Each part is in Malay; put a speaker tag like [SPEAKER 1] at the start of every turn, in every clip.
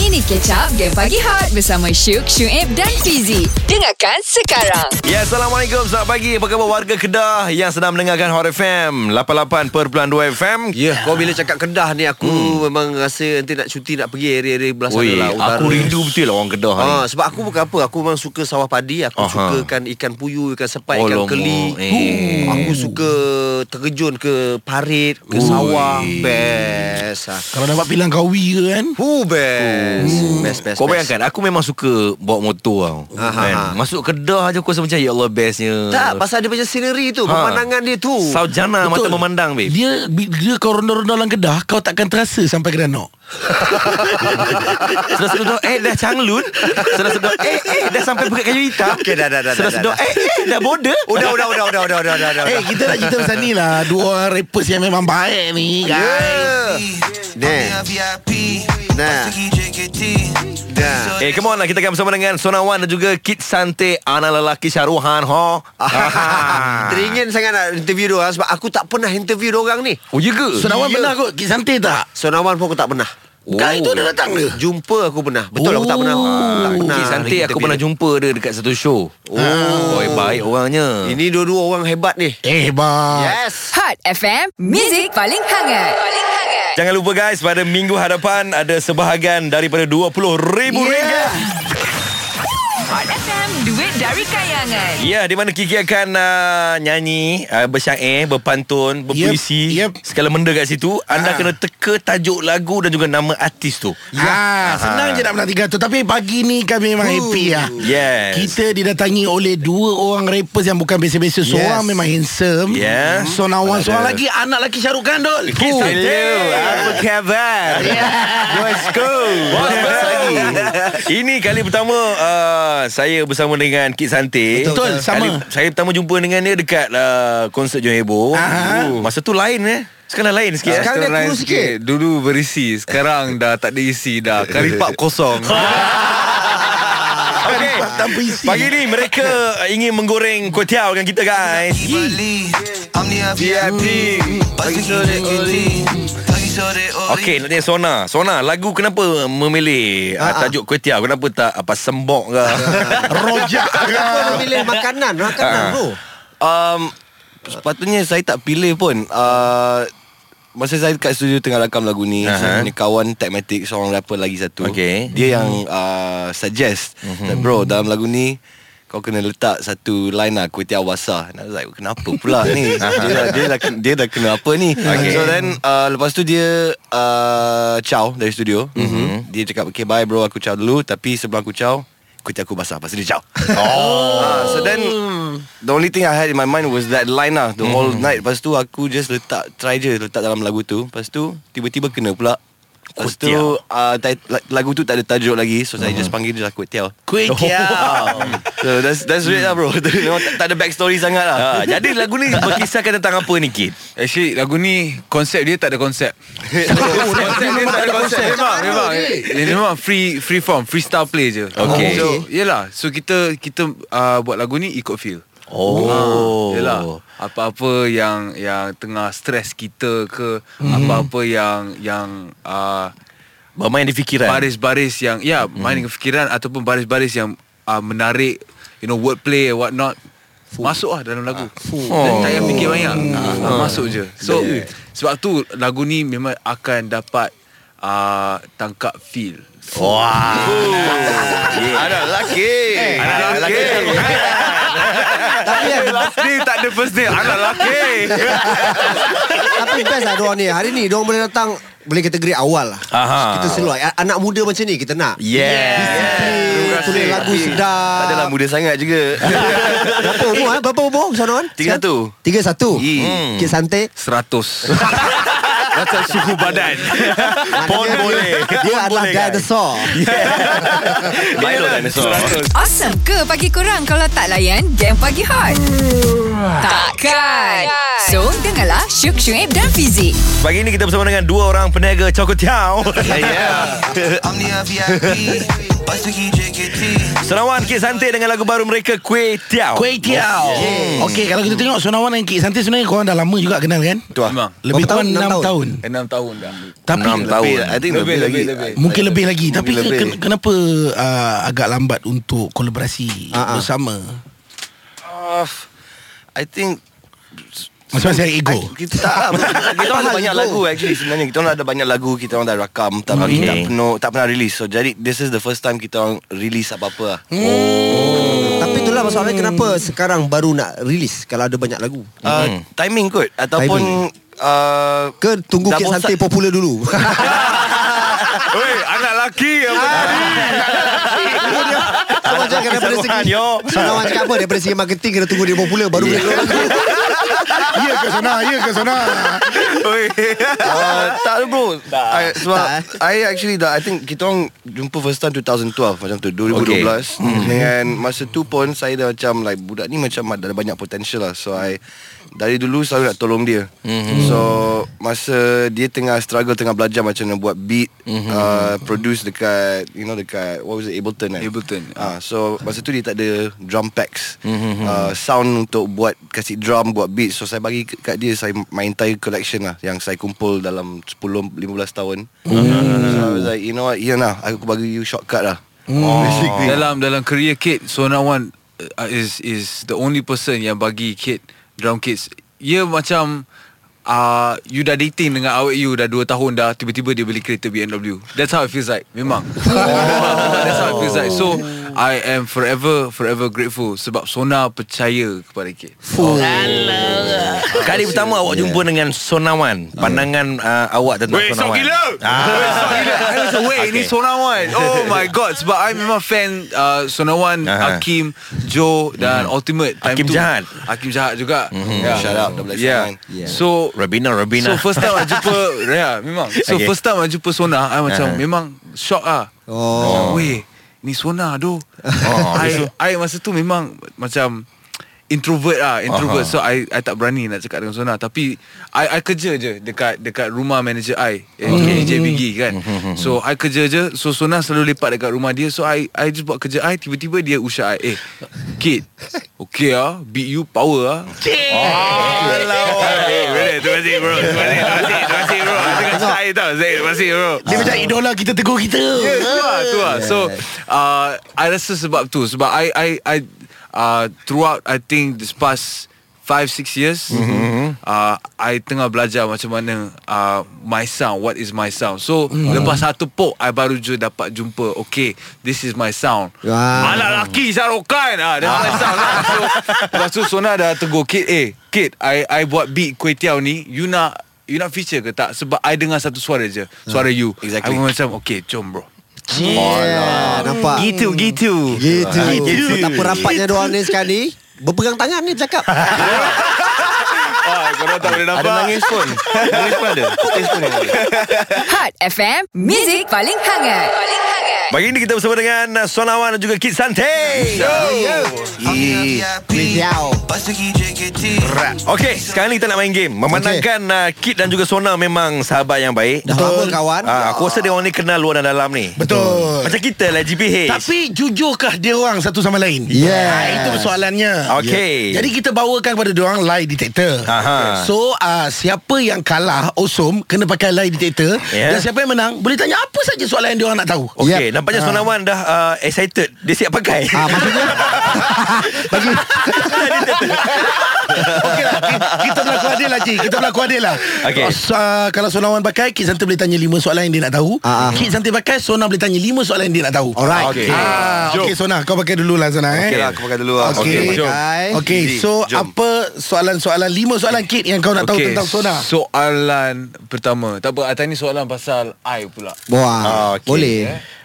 [SPEAKER 1] Ini Catch Up Game Pagi Hot bersama Syuk, Syuib dan Fizi. Dengarkan sekarang.
[SPEAKER 2] Ya, Assalamualaikum. Selamat pagi. Apa khabar warga Kedah yang sedang mendengarkan Hot FM 88.2 FM?
[SPEAKER 3] Ya, yeah. kau bila cakap Kedah ni aku hmm. memang rasa nanti nak cuti nak pergi area-area belah sana
[SPEAKER 2] Oi,
[SPEAKER 3] lah. utara.
[SPEAKER 2] aku rindu betul lah orang Kedah ni.
[SPEAKER 3] Ha, sebab aku bukan apa, aku memang suka sawah padi, aku
[SPEAKER 2] Aha.
[SPEAKER 3] Aha. suka ikan ikan puyuh, ikan sepat,
[SPEAKER 2] Alamak,
[SPEAKER 3] ikan keli.
[SPEAKER 2] eh.
[SPEAKER 3] Aku suka terjun ke parit, ke sawah. Best. ah.
[SPEAKER 4] Kalau dapat pilang kawi ke kan
[SPEAKER 3] Hu best. Best best.
[SPEAKER 2] Kau
[SPEAKER 3] best.
[SPEAKER 2] bayangkan Aku memang suka Bawa motor tau
[SPEAKER 3] Aha.
[SPEAKER 2] kan? Masuk Kedah je Aku rasa macam Ya Allah bestnya
[SPEAKER 3] Tak, pasal dia punya scenery tu,
[SPEAKER 2] Ha.
[SPEAKER 3] pemandangan dia tu.
[SPEAKER 2] Saujana mata memandang babe
[SPEAKER 4] Dia bi- Dia kau ronda-ronda dalam kedah Kau takkan terasa sampai ke danau
[SPEAKER 2] Sudah sedok Eh dah Changlun Sudah sedok Eh eh dah sampai Bukit Kayu Hitam
[SPEAKER 3] Okey, dah, dah, dah,
[SPEAKER 2] Sudah
[SPEAKER 3] dah,
[SPEAKER 2] sedok
[SPEAKER 3] dah.
[SPEAKER 2] Eh eh dah border
[SPEAKER 3] Udah udah udah udah udah udah udah. udah.
[SPEAKER 4] Eh kita nak cerita pasal ni lah Dua orang rappers yang memang baik ni guys
[SPEAKER 3] Yeah. Nah. Nah.
[SPEAKER 5] E
[SPEAKER 3] Nah.
[SPEAKER 2] Eh come on lah Kita akan bersama dengan Sonawan dan juga Kid Sante Anak lelaki Syaruhan ho. ha. Aha.
[SPEAKER 3] Teringin sangat nak interview dia orang sebab aku tak pernah interview dia orang ni.
[SPEAKER 2] Oh ya ke?
[SPEAKER 4] Sunawan pernah kot Kit Santai tak
[SPEAKER 3] Sonawan pun aku tak pernah.
[SPEAKER 4] oh. Kali tu dia datang ke
[SPEAKER 3] Jumpa aku pernah. Betul aku tak pernah.
[SPEAKER 5] Oh.
[SPEAKER 3] Tak pernah.
[SPEAKER 2] Kid Sante aku pernah jumpa dia Dekat satu show Oh Boy, Baik orangnya
[SPEAKER 3] Ini dua-dua orang hebat ni.
[SPEAKER 4] Eh bang
[SPEAKER 3] Yes.
[SPEAKER 1] Hot FM, Music paling hangat. Paling hangat.
[SPEAKER 2] Jangan lupa guys Pada minggu hadapan Ada sebahagian daripada RM20,000 yeah. ringgit
[SPEAKER 1] Hot FM, duit dari kayangan.
[SPEAKER 2] Ya, di mana Kiki akan uh, nyanyi, uh, bersyair, berpantun, berpuisi,
[SPEAKER 4] Yep, yep.
[SPEAKER 2] segala benda kat situ. Anda
[SPEAKER 4] Ha.
[SPEAKER 2] kena teka tajuk lagu dan juga nama artis tu.
[SPEAKER 4] Ya, senang je nak menang tiga tu Tapi pagi ni kami memang happy lah
[SPEAKER 2] Yes.
[SPEAKER 4] Kita didatangi oleh dua orang rappers yang bukan biasa-biasa Seorang
[SPEAKER 3] Yes.
[SPEAKER 4] memang handsome
[SPEAKER 2] Yeah.
[SPEAKER 4] Sonawan seorang lagi anak lelaki Syarul Kandol
[SPEAKER 2] Kid
[SPEAKER 4] Oh.
[SPEAKER 2] Sante. Apa khabar? Let's go. Bos lagi. Ini kali pertama uh, saya bersama dengan Kid Sante.
[SPEAKER 4] Betul, sama.
[SPEAKER 2] Kali, saya pertama jumpa dengan dia dekat uh, konsert Johor Heboh.
[SPEAKER 4] Aha.
[SPEAKER 2] Masa tu lain eh. Sekarang lain sikit. eh.
[SPEAKER 3] Sekarang dia kurus sikit.
[SPEAKER 5] Dulu berisi Sekarang dah tak ada isi dah Karipap kosong
[SPEAKER 2] Okey.
[SPEAKER 4] Tanpa isi
[SPEAKER 2] Pagi ni mereka ingin menggoreng kotiau dengan kita guys.
[SPEAKER 5] VIP Pagi sore oli
[SPEAKER 2] Okey, nak tanya Sona. Sona, lagu kenapa memilih
[SPEAKER 6] Ah,
[SPEAKER 2] uh, tajuk kotiau? Kenapa tak apa sembok ke?
[SPEAKER 4] Rojak
[SPEAKER 3] Kenapa nak pilih makanan? Makanan
[SPEAKER 2] Ah.
[SPEAKER 3] bro.
[SPEAKER 5] um, Sepatutnya saya tak pilih pun uh, Masa saya dekat studio tengah rakam lagu ni
[SPEAKER 2] Aha.
[SPEAKER 5] uh-huh. Saya punya kawan Tagmatic Seorang rapper lagi satu
[SPEAKER 2] Okey.
[SPEAKER 5] Dia yang uh, suggest uh-huh.
[SPEAKER 2] Mhm.
[SPEAKER 5] Bro dalam lagu ni kau kena letak satu line lah Kuih Tiaw Basah And I was like Kenapa pula ni dia, dah, dia, dah, kena- dia dah kena apa ni
[SPEAKER 2] Okay.
[SPEAKER 5] So then uh, Lepas tu dia uh, Ciao dari studio
[SPEAKER 2] Mhm.
[SPEAKER 5] mm-hmm. Dia cakap Okay bye bro aku ciao dulu Tapi sebelum aku ciao Kuih Tiaw aku basah Lepas tu dia ciao
[SPEAKER 2] Oh.
[SPEAKER 5] Ah, so then the only thing I had in my mind was that line lah the whole
[SPEAKER 2] Mhm.
[SPEAKER 5] night. Lepas tu aku just letak try je letak dalam lagu tu. Lepas tu tiba-tiba kena pula. Lepas tu
[SPEAKER 2] Kuetiau.
[SPEAKER 5] uh, tit- la- lagu tu tak ada tajuk lagi so saya
[SPEAKER 6] Mm-hmm.
[SPEAKER 5] just panggil dia lah Kuih Tiaw.
[SPEAKER 4] Kuih tiaw
[SPEAKER 5] so that's that's it lah bro. Memang tak, tak ada backstory sangat lah.
[SPEAKER 6] Ah.
[SPEAKER 2] Ha, jadi lagu ni berkisahkan tentang apa ni, Kid?
[SPEAKER 6] Actually lagu ni Konsep Oh, dia tak ada konsep Konsep dia tak ada konsep Memang Memang Dia memang free free form Freestyle play je
[SPEAKER 2] Okay.
[SPEAKER 6] So yelah So kita Kita uh, buat lagu ni Ikut feel Ah.
[SPEAKER 2] Oh.
[SPEAKER 6] Yelah Apa-apa yang Yang tengah stress kita ke
[SPEAKER 5] Mm-hmm.
[SPEAKER 6] Apa-apa yang Yang uh,
[SPEAKER 2] Bermain di fikiran.
[SPEAKER 6] Baris-baris yang Ya main dengan fikiran Ataupun baris-baris yang uh, Menarik You know wordplay and what not Masuk lah dalam lagu Dan tak payah fikir banyak Ah, Masuk je So Sebab tu lagu ni memang akan dapat uh, Tangkap feel
[SPEAKER 2] Oh,
[SPEAKER 5] Anak lelaki.
[SPEAKER 2] Eh,
[SPEAKER 6] Eh,
[SPEAKER 5] Anak lelaki.
[SPEAKER 3] Tapi kan,
[SPEAKER 6] Last day tak ada first day Anak lelaki
[SPEAKER 3] tapi best lah diorang ni. Hari ni diorang boleh datang boleh kategori awal lah.
[SPEAKER 2] Aha.
[SPEAKER 5] Ah.
[SPEAKER 3] Kita selalu a- anak muda macam ni kita nak.
[SPEAKER 2] Yeah.
[SPEAKER 3] Yeah. Tulis lagu sedap.
[SPEAKER 5] Tak adalah muda sangat juga.
[SPEAKER 3] Berapa umur? Eh? Berapa umur? Sanon?
[SPEAKER 5] Tiga satu.
[SPEAKER 3] Tiga satu.
[SPEAKER 5] Hmm.
[SPEAKER 3] Kit santai.
[SPEAKER 6] Seratus Macam suhu badan
[SPEAKER 2] Pun
[SPEAKER 3] Maknanya dia-
[SPEAKER 2] boleh.
[SPEAKER 3] Dia adalah
[SPEAKER 2] boleh, kan? guys.
[SPEAKER 3] dinosaur.
[SPEAKER 2] Milo dinosaur.
[SPEAKER 1] Awesome ke pagi kurang kalau tak layan Game Pagi Hot? Takkan. So, dengarlah Syuk, Syuib dan Fizi.
[SPEAKER 2] Pagi ni kita bersama dengan dua orang peniaga Chocotiao.
[SPEAKER 5] Yeah.
[SPEAKER 7] Lepas tu pergi JKT
[SPEAKER 2] Senawan Kit Santik dengan lagu baru mereka Kuih Tiao
[SPEAKER 4] Kuih Tiao yeah. Okay Oh, kalau kita tengok Sonawan dan Kik Santi Sebenarnya korang dah lama juga kenal kan
[SPEAKER 3] Tu lah
[SPEAKER 5] Memang
[SPEAKER 4] Lebih
[SPEAKER 8] Berapa
[SPEAKER 4] kurang
[SPEAKER 8] tahun?
[SPEAKER 4] 6
[SPEAKER 8] Enam
[SPEAKER 4] tahun
[SPEAKER 5] Enam tahun dah
[SPEAKER 4] Tapi
[SPEAKER 3] Enam tahun I think lebih, lagi
[SPEAKER 4] Mungkin lebih lagi
[SPEAKER 3] Mungkin
[SPEAKER 4] Tapi
[SPEAKER 3] lebih.
[SPEAKER 4] ke- kenapa uh, Agak lambat untuk Kolaborasi
[SPEAKER 8] Ah, ah.
[SPEAKER 4] Bersama
[SPEAKER 3] Ah, I think
[SPEAKER 4] Macam mana ego
[SPEAKER 3] I, kita tak lah. kita orang ada banyak lagu actually sebenarnya kita orang ada banyak lagu kita orang dah rakam tapi
[SPEAKER 2] Okay.
[SPEAKER 3] tak pernah tak pernah release so jadi this is the first time kita orang release apa-apa lah.
[SPEAKER 8] Tapi itulah masalahnya kenapa sekarang baru nak release kalau ada banyak lagu.
[SPEAKER 3] Uh, timing kot ataupun uh,
[SPEAKER 8] Ke tunggu
[SPEAKER 3] Dah
[SPEAKER 8] Kit
[SPEAKER 3] bosan-
[SPEAKER 8] Santik popular dulu.
[SPEAKER 2] Hei anak lelaki
[SPEAKER 8] Abang cakap daripada
[SPEAKER 2] Saruhan,
[SPEAKER 8] segi
[SPEAKER 2] yo.
[SPEAKER 8] Sonawan cakap apa Daripada segi marketing Kena tunggu dia popular Baru boleh keluar lagu.
[SPEAKER 4] Ya ke sana Ya ke sana
[SPEAKER 3] Uh, tak bro I, Sebab
[SPEAKER 8] Tak, eh?
[SPEAKER 3] I actually dah I think kita orang Jumpa first time 2012 Macam tu 2012 okay. Hmm. Dengan masa tu pun Saya dah macam like Budak ni macam Ada banyak potential lah So I Dari dulu selalu nak tolong dia mm-hmm. So Masa dia tengah struggle Tengah belajar macam mana buat beat mm-hmm. uh, Produce dekat You know dekat What was it Ableton eh?
[SPEAKER 5] Ableton.
[SPEAKER 3] Ah, So masa tu dia tak ada Drum packs mm-hmm. uh, Sound untuk buat Kasih drum Buat beat So saya bagi kat dia Saya my entire collection lah Yang saya kumpul dalam 10-15 tahun Ah, So I was like You know what Here lah Aku bagi you shortcut lah
[SPEAKER 5] oh. Dalam dalam career Kit Sonawan uh, Is is the only person Yang bagi Kit Drum Kids Ia macam uh, You dah dating dengan awet you Dah 2 tahun dah Tiba-tiba dia beli kereta BMW That's how it feels like Memang That's how it feels like So I am forever Forever grateful Sebab Sona percaya kepada Kit
[SPEAKER 2] Kali pertama awak
[SPEAKER 3] Ya.
[SPEAKER 2] jumpa dengan Sonawan Pandangan uh, awak tentang
[SPEAKER 5] Weh,
[SPEAKER 2] Sonawan
[SPEAKER 5] sok gila.
[SPEAKER 2] ah.
[SPEAKER 5] I was away Ini Sonawan Oh my god Sebab I memang fan uh, Sonawan
[SPEAKER 2] Aha.
[SPEAKER 5] Hakim Joe Dan Ultimate
[SPEAKER 2] Uh-huh. Mm-hmm. Hakim
[SPEAKER 5] tu.
[SPEAKER 2] Jahat.
[SPEAKER 5] Hakim Jahat juga mm-hmm.
[SPEAKER 3] Shout out Double X
[SPEAKER 5] yeah.
[SPEAKER 3] Nine.
[SPEAKER 5] yeah So
[SPEAKER 2] Rabina Rabina
[SPEAKER 5] So first time I jumpa Ya yeah, memang So
[SPEAKER 2] Okay.
[SPEAKER 5] okay. first time I jumpa Sona I macam
[SPEAKER 2] Aha.
[SPEAKER 5] Memang shock ah. Oh Weh Ni Sona doh oh, I, I masa tu memang Macam Introvert ah, Introvert So I I tak berani nak cakap dengan Sona Tapi I I kerja je Dekat dekat rumah manager I eh, AJ Biggie kan So I kerja je So Sona selalu lepak dekat rumah dia So I I just buat kerja I Tiba-tiba dia usah I Eh Kid Okay ah Beat you power ah
[SPEAKER 2] Terima kasih bro Terima kasih Terima kasih bro Dengan saya tau Terima kasih bro
[SPEAKER 4] Dia macam idola kita Tegur kita
[SPEAKER 5] tu lah, tu lah. So uh, I rasa sebab tu Sebab I I, I uh, Throughout I think This past 5-6 years mm-hmm. uh, I tengah belajar macam mana uh, My sound What is my sound So mm. lepas satu pok I baru je dapat jumpa Okay This is my sound
[SPEAKER 8] Wah.
[SPEAKER 5] Anak lelaki Sarokan ah, Dia my sound lah So Lepas tu Sona dah tegur Kid eh Kid I, I buat beat Kuih Tiao ni You nak You nak feature ke tak Sebab I dengar satu suara je Suara
[SPEAKER 2] Hmm.
[SPEAKER 5] you
[SPEAKER 3] Exactly.
[SPEAKER 5] I macam Okay jom bro
[SPEAKER 8] Yeah, nampak
[SPEAKER 2] Gitu gitu
[SPEAKER 8] lah. Ah, Gitu
[SPEAKER 3] Ah,
[SPEAKER 2] Gitu.
[SPEAKER 8] Betapa rapatnya diorang ni sekarang ni Berpegang tangan ni bercakap
[SPEAKER 2] Ah, Korang tak boleh nampak
[SPEAKER 3] Ada nangis pun Nangis pun ada Nangis pun ada
[SPEAKER 1] Hot FM, Music paling hangat. Paling hangat.
[SPEAKER 2] Pagi ini kita bersama dengan uh, Sonawan dan juga Kit Santai
[SPEAKER 7] VIP
[SPEAKER 8] Kau
[SPEAKER 7] Lepas tu pergi JKT
[SPEAKER 2] Okey, sekarang ni kita nak main game Memandangkan okay. uh, Kit dan juga Sona memang sahabat yang baik
[SPEAKER 8] Dah lama kawan
[SPEAKER 2] Ah, aku rasa dia orang ni kenal luar dan dalam ni
[SPEAKER 4] Betul
[SPEAKER 2] Macam kita lah GPH
[SPEAKER 4] Tapi jujurkah dia orang satu sama lain?
[SPEAKER 8] Yeah.
[SPEAKER 4] Ah, itu persoalannya.
[SPEAKER 2] Okey.
[SPEAKER 4] Jadi kita bawakan kepada dia orang lie detector.
[SPEAKER 2] Aha.
[SPEAKER 4] So uh, siapa yang kalah osum kena pakai lie detector
[SPEAKER 2] Yeah.
[SPEAKER 4] dan siapa yang menang boleh tanya apa saja soalan yang dia orang nak tahu.
[SPEAKER 2] Okey,
[SPEAKER 8] Yep.
[SPEAKER 2] nampaknya Sonawan dah uh, excited. Dia siap pakai.
[SPEAKER 8] Ah, maksudnya Bagi
[SPEAKER 4] Okey lah ki- Kita berlaku adil lah Cik Kita berlaku adil lah
[SPEAKER 2] Okey.
[SPEAKER 4] so, uh, Kalau Sonawan pakai Kit Santai boleh tanya 5 soalan yang dia nak tahu
[SPEAKER 8] Ah, ah.
[SPEAKER 4] Kit Santai pakai Sona boleh tanya 5 soalan yang dia nak tahu
[SPEAKER 8] Alright
[SPEAKER 2] Okey.
[SPEAKER 4] Ah,
[SPEAKER 2] Jom.
[SPEAKER 4] okay Sona Kau pakai dulu lah Sona eh
[SPEAKER 3] Okay lah aku pakai dulu lah
[SPEAKER 4] Okey.
[SPEAKER 3] Okay,
[SPEAKER 2] jom.
[SPEAKER 8] Pakai
[SPEAKER 4] Okay,
[SPEAKER 3] Easy.
[SPEAKER 4] so
[SPEAKER 3] Jom.
[SPEAKER 4] apa soalan-soalan lima soalan Kit yang kau nak tahu tentang Sona?
[SPEAKER 5] Soalan pertama. Tak apa, Atai ni soalan pasal I pula.
[SPEAKER 8] Wah
[SPEAKER 2] Ah, okey.
[SPEAKER 8] Boleh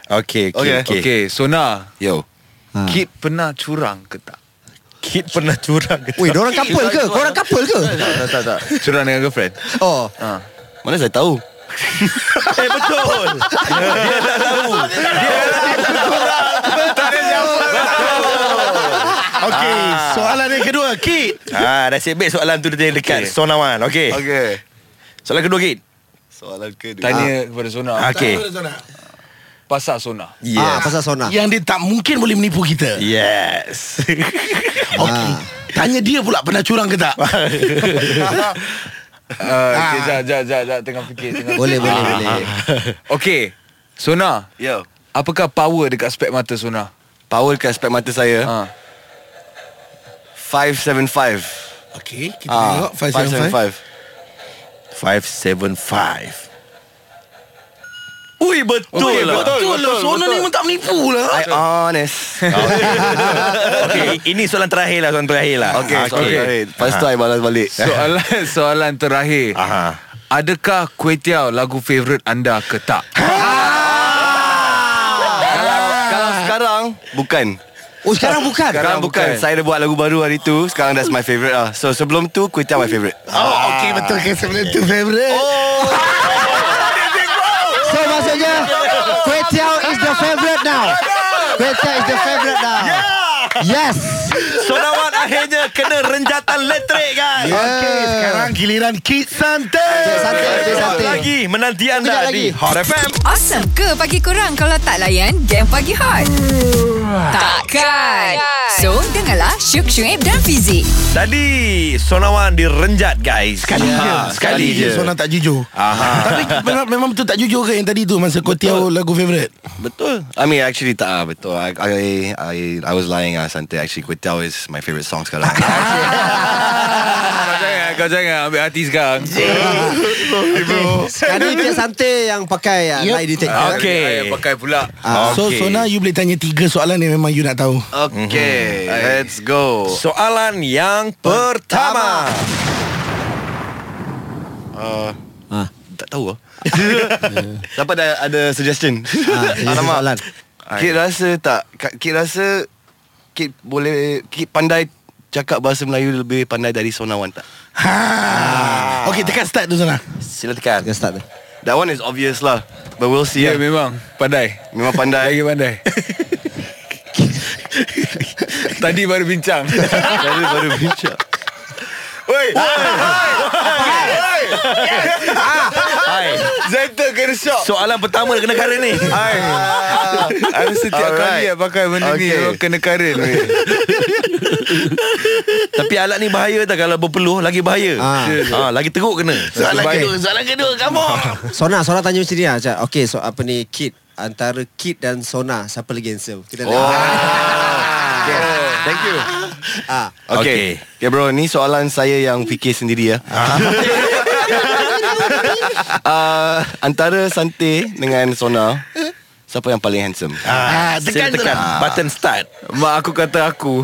[SPEAKER 2] Okey, okey,
[SPEAKER 3] Okey.
[SPEAKER 2] okey.
[SPEAKER 5] Okay, okay Sona.
[SPEAKER 3] Yo
[SPEAKER 4] Ha.
[SPEAKER 8] Ah.
[SPEAKER 5] Kid pernah curang ke tak?
[SPEAKER 2] Kit pernah curang ke?
[SPEAKER 8] Weh, diorang couple ke? Korang couple ke?
[SPEAKER 3] Tak tak tak
[SPEAKER 5] Curang dengan girlfriend?
[SPEAKER 8] Oh
[SPEAKER 5] Ha.
[SPEAKER 3] Mana saya tahu
[SPEAKER 2] eh, betul.
[SPEAKER 4] Okay, soalan yang kedua Kit
[SPEAKER 2] ah, dah siap baik soalan tu dia dekat okay. Sonawan. Okey. Okay.
[SPEAKER 3] Okay
[SPEAKER 2] Soalan kedua, Kit.
[SPEAKER 3] Soalan kedua
[SPEAKER 2] Ah.
[SPEAKER 5] Tanya kepada Sona.
[SPEAKER 2] Okey.
[SPEAKER 4] Sona.
[SPEAKER 5] Pasar Sona.
[SPEAKER 3] Ah, pasal Sona.
[SPEAKER 4] Yang dia tak mungkin boleh menipu kita
[SPEAKER 9] Yes.
[SPEAKER 4] Okey Tanya dia pula pernah curang ke tak
[SPEAKER 5] Uh,
[SPEAKER 4] Ah,
[SPEAKER 5] okay, jap, jap, jap, jap, tengah fikir. Tengah
[SPEAKER 3] Boleh, boleh, boleh.
[SPEAKER 5] Okay. Sona,
[SPEAKER 2] Yo.
[SPEAKER 5] apakah power dekat spek mata Sona?
[SPEAKER 2] Power dekat spek mata saya.
[SPEAKER 5] Ha.
[SPEAKER 2] 575.
[SPEAKER 4] Okey Kita
[SPEAKER 2] Ah,
[SPEAKER 4] tengok 575
[SPEAKER 9] 575. Ui betul okay, lah.
[SPEAKER 4] Betul, betul lah Sona ni pun tak menipu lah
[SPEAKER 2] I honest.
[SPEAKER 9] Okay, ini soalan terakhir lah, soalan terakhir lah.
[SPEAKER 2] Okay, okay. sorry. sorry. Lepas tu I balas balik.
[SPEAKER 5] Soalan soalan terakhir.
[SPEAKER 9] Aha.
[SPEAKER 5] Adakah Kuih Tiao lagu favourite anda ke tak?
[SPEAKER 4] Ha.
[SPEAKER 2] Kalau, kalau sekarang bukan.
[SPEAKER 3] Oh, sekarang bukan.
[SPEAKER 2] Sekarang bukan.
[SPEAKER 5] bukan.
[SPEAKER 2] Saya dah buat lagu baru hari tu. Sekarang that's my favourite lah. So sebelum tu Kuih Tiao my favourite.
[SPEAKER 4] Oh okey
[SPEAKER 3] Ah.
[SPEAKER 4] betul ke sebenarnya tu favourite
[SPEAKER 3] Oh. So maksudnya Kway Teow is the favorite now. Kway Teow is the favorite now. Yes.
[SPEAKER 9] Sonawan akhirnya kena renjatan elektrik kan.
[SPEAKER 4] Okey
[SPEAKER 3] Eh.
[SPEAKER 4] sekarang giliran Kid
[SPEAKER 3] Cik
[SPEAKER 4] Santai
[SPEAKER 3] Santai, Cik
[SPEAKER 9] Satu
[SPEAKER 3] Santai.
[SPEAKER 9] lagi menanti
[SPEAKER 3] Sekejap
[SPEAKER 9] anda
[SPEAKER 3] lagi.
[SPEAKER 9] di Hot FM.
[SPEAKER 1] Awesome ke pagi korang kalau tak layan game pagi hot? Takkan. So, dengarlah Syuk, Syuib dan Fizik.
[SPEAKER 9] Tadi Sonawan direnjat guys.
[SPEAKER 4] Sekali
[SPEAKER 3] Ya,
[SPEAKER 4] je
[SPEAKER 9] Ah,
[SPEAKER 4] Ya, Sekali je Sona tak jujur
[SPEAKER 9] Aha.
[SPEAKER 4] Tapi memang, memang betul tak jujur ke yang tadi tu Masa kau tiaw lagu favourite
[SPEAKER 2] Betul. I mean actually tak ah betul. I I I, I was lying ah Santai. Actually Kuih Tiao is my favourite song sekarang.
[SPEAKER 5] Kau jangan, kau jangan ambil hati sekarang.
[SPEAKER 3] Tadi Cik Santai yang pakai uh,
[SPEAKER 4] Yup.
[SPEAKER 3] lie
[SPEAKER 9] Ah,
[SPEAKER 3] detector.
[SPEAKER 9] Okay.
[SPEAKER 5] Saya pakai pula.
[SPEAKER 4] Ah, So Sona you boleh tanya tiga soalan yang memang you nak tahu
[SPEAKER 2] okay, let's
[SPEAKER 9] Oh.
[SPEAKER 2] go.
[SPEAKER 9] Soalan yang pertama.
[SPEAKER 2] Tak tahu ah. Dapat dah ada suggestion.
[SPEAKER 3] Ah, suggestion soalan.
[SPEAKER 2] Kid rasa tak Ka- Kid rasa Kid boleh Kid pandai Cakap bahasa Melayu Lebih pandai dari Sonawan tak
[SPEAKER 4] ha. Okay tekan start tu Sona
[SPEAKER 2] Sila tekan
[SPEAKER 3] Kita start tu.
[SPEAKER 2] That one is obvious lah But we'll see
[SPEAKER 5] Ya, yeah,
[SPEAKER 2] yeah,
[SPEAKER 5] memang. Pandai.
[SPEAKER 2] Memang pandai
[SPEAKER 5] Lagi pandai. Tadi baru bincang.
[SPEAKER 2] Baru baru bincang
[SPEAKER 9] Hai.
[SPEAKER 5] Zaita kena shock.
[SPEAKER 9] Soalan pertama kena kara ni.
[SPEAKER 5] Hai. I rasa tiap
[SPEAKER 2] Alright.
[SPEAKER 5] kali I pakai benda ni
[SPEAKER 2] Okay.
[SPEAKER 5] memang kena karen. weh.
[SPEAKER 9] Tapi alat ni bahaya tak kalau berpeluh lagi bahaya.
[SPEAKER 3] Ah.
[SPEAKER 9] Ah, lagi teruk kena.
[SPEAKER 4] Soalan
[SPEAKER 5] Terbaik.
[SPEAKER 4] kedua Soalan kedua Kamu
[SPEAKER 3] Sona, Sona tanya macam ni lah. Cak. Okay, so apa ni Kid antara Kid dan Sona siapa lagi handsome? Kita Ah.
[SPEAKER 2] Oh
[SPEAKER 3] tengok.
[SPEAKER 2] okay. Thank you
[SPEAKER 3] Ah.
[SPEAKER 2] okay.
[SPEAKER 9] Okay.
[SPEAKER 2] okay bro Ni soalan saya yang fikir sendiri ya. uh, antara Sante Dengan Sona Siapa yang paling handsome
[SPEAKER 4] Ah,
[SPEAKER 9] Sila
[SPEAKER 4] tekan
[SPEAKER 9] tekan
[SPEAKER 3] lah.
[SPEAKER 9] button start.
[SPEAKER 5] Mak aku kata aku.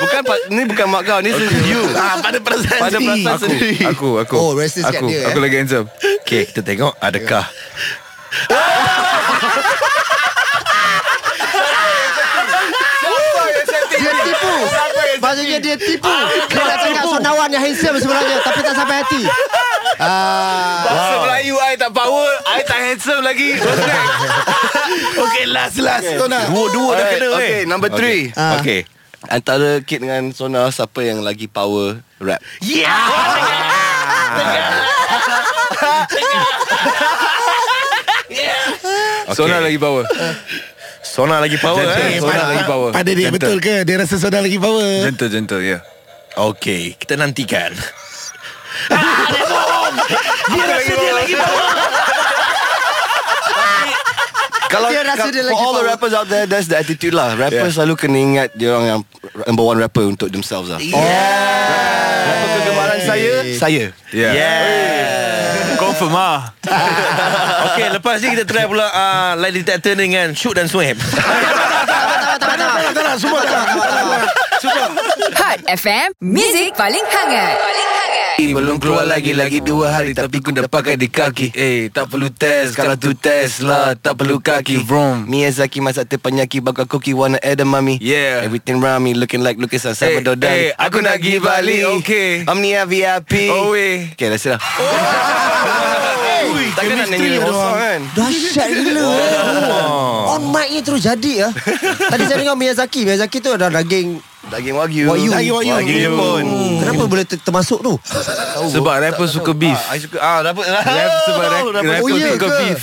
[SPEAKER 2] Bukan pa- Ni bukan mak kau Ni okay. you
[SPEAKER 4] Ah, pada perasaan
[SPEAKER 2] Pada
[SPEAKER 4] sendiri.
[SPEAKER 2] perasaan
[SPEAKER 5] Aku,
[SPEAKER 2] sendiri
[SPEAKER 5] aku, aku.
[SPEAKER 3] Oh, racist kat
[SPEAKER 5] aku,
[SPEAKER 3] dia,
[SPEAKER 5] Aku
[SPEAKER 3] eh?
[SPEAKER 5] lagi handsome.
[SPEAKER 9] Okey, kita tengok adakah
[SPEAKER 3] Dia tipu Maksudnya dia tipu
[SPEAKER 4] Ah,
[SPEAKER 3] Dia nak cakap sonawan yang handsome sebenarnya Tapi tak sampai hati Ah,
[SPEAKER 5] Bahasa Melayu I tak power, I tak handsome lagi.
[SPEAKER 4] Okay last last Sona
[SPEAKER 9] dua-dua dah kena eh.
[SPEAKER 2] okay, number three okay.
[SPEAKER 3] Ah.
[SPEAKER 9] Okey.
[SPEAKER 2] Antara Kid dengan Sona Siapa yang lagi power rap Ah.
[SPEAKER 5] Sona lagi power.
[SPEAKER 9] Sona lagi power
[SPEAKER 5] Gentle.
[SPEAKER 9] eh.
[SPEAKER 5] Sona
[SPEAKER 4] pada,
[SPEAKER 5] lagi power.
[SPEAKER 4] pada dia
[SPEAKER 5] Gentle.
[SPEAKER 4] betul ke Dia rasa Sona lagi power
[SPEAKER 5] Gentle, gentle, ya. Yeah.
[SPEAKER 9] Okey, kita nantikan.
[SPEAKER 2] Ah, Kalau
[SPEAKER 3] Dia rasa dia lagi
[SPEAKER 2] For all the
[SPEAKER 3] power.
[SPEAKER 2] rappers out there That's the attitude lah Rappers yeah. selalu kena ingat Dia orang yang Number one rapper Untuk themselves lah yeah. Rapper kegemaran saya Saya
[SPEAKER 5] Yeah. Confirm ah.
[SPEAKER 9] Okey, lah. lepas ni kita try pula uh, lie detector ni dengan shoot dan swipe.
[SPEAKER 1] Hot FM, Music paling hangat. Paling hangat.
[SPEAKER 5] Belum keluar lagi Lagi dua hari Tapi ku dah pakai di kaki Eh tak perlu test Kalau tu test lah Tak perlu kaki Vroom
[SPEAKER 2] Miyazaki masak teh penyaki Bakar koki Warna edamame
[SPEAKER 5] Yeah.
[SPEAKER 2] Everything round me Looking like Lucas and Salvador
[SPEAKER 5] Eh,
[SPEAKER 2] Dali
[SPEAKER 5] eh, aku nak pergi Bali. Okay.
[SPEAKER 2] Omnia VIP
[SPEAKER 5] Oh, weh.
[SPEAKER 2] Okay that's it lah Takkan nak nyanyi kosong kan
[SPEAKER 3] Dahsyat gila eh. On mic ni terus jadi ya. Tadi saya dengar Miyazaki Miyazaki tu ada daging Daging wagyu.
[SPEAKER 8] Wagyu.
[SPEAKER 4] Wagyu, wagyu.
[SPEAKER 3] Wagyu Jepun.
[SPEAKER 8] Kenapa boleh ter- termasuk tu?
[SPEAKER 5] Sebab rapper suka beef
[SPEAKER 3] I suka ah dapat.
[SPEAKER 5] Rap sebab rap, rapper
[SPEAKER 8] Oh, ya
[SPEAKER 5] suka
[SPEAKER 8] ke?
[SPEAKER 5] beef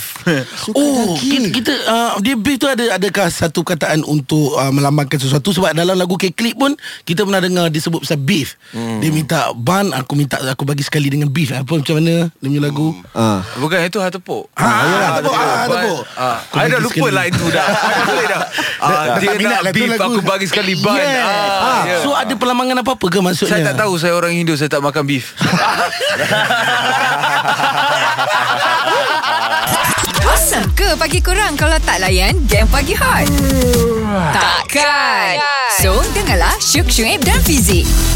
[SPEAKER 8] Suka
[SPEAKER 4] Oh,
[SPEAKER 8] kaki.
[SPEAKER 4] kita, kita uh, dia beef tu ada adakah satu kataan untuk uh, melambangkan sesuatu sebab dalam lagu K-Clip pun kita pernah dengar dia sebut pasal beef. Hmm. Dia minta bun, aku minta aku bagi sekali dengan beef. Apa macam mana dia punya lagu?
[SPEAKER 8] Ah.
[SPEAKER 4] Hmm.
[SPEAKER 5] Bukan itu hak tepuk
[SPEAKER 4] Ha,
[SPEAKER 5] Ah,
[SPEAKER 4] ha, tepuk,
[SPEAKER 5] tepuk.
[SPEAKER 4] ha, tepuk.
[SPEAKER 5] Ah,
[SPEAKER 4] Aku
[SPEAKER 5] I dah
[SPEAKER 4] bagi
[SPEAKER 5] lupa
[SPEAKER 4] sekali.
[SPEAKER 5] lah itu dah I dah pelik dah Ah,
[SPEAKER 4] Dah- dah
[SPEAKER 5] Dia
[SPEAKER 4] tak minat
[SPEAKER 5] nak
[SPEAKER 4] lah tu
[SPEAKER 5] beef
[SPEAKER 4] lagu.
[SPEAKER 5] Aku bagi sekali ban
[SPEAKER 4] Yes.
[SPEAKER 5] Ah,
[SPEAKER 4] Ah,
[SPEAKER 5] ya.
[SPEAKER 4] So ada perlambangan apa-apa ke maksudnya?
[SPEAKER 5] Saya tak tahu Saya orang Hindu Saya tak makan beef
[SPEAKER 1] Awesome ke pagi kurang kalau tak layan game pagi hot? Takkan. So, dengarlah Syuk Syuib dan Fizik.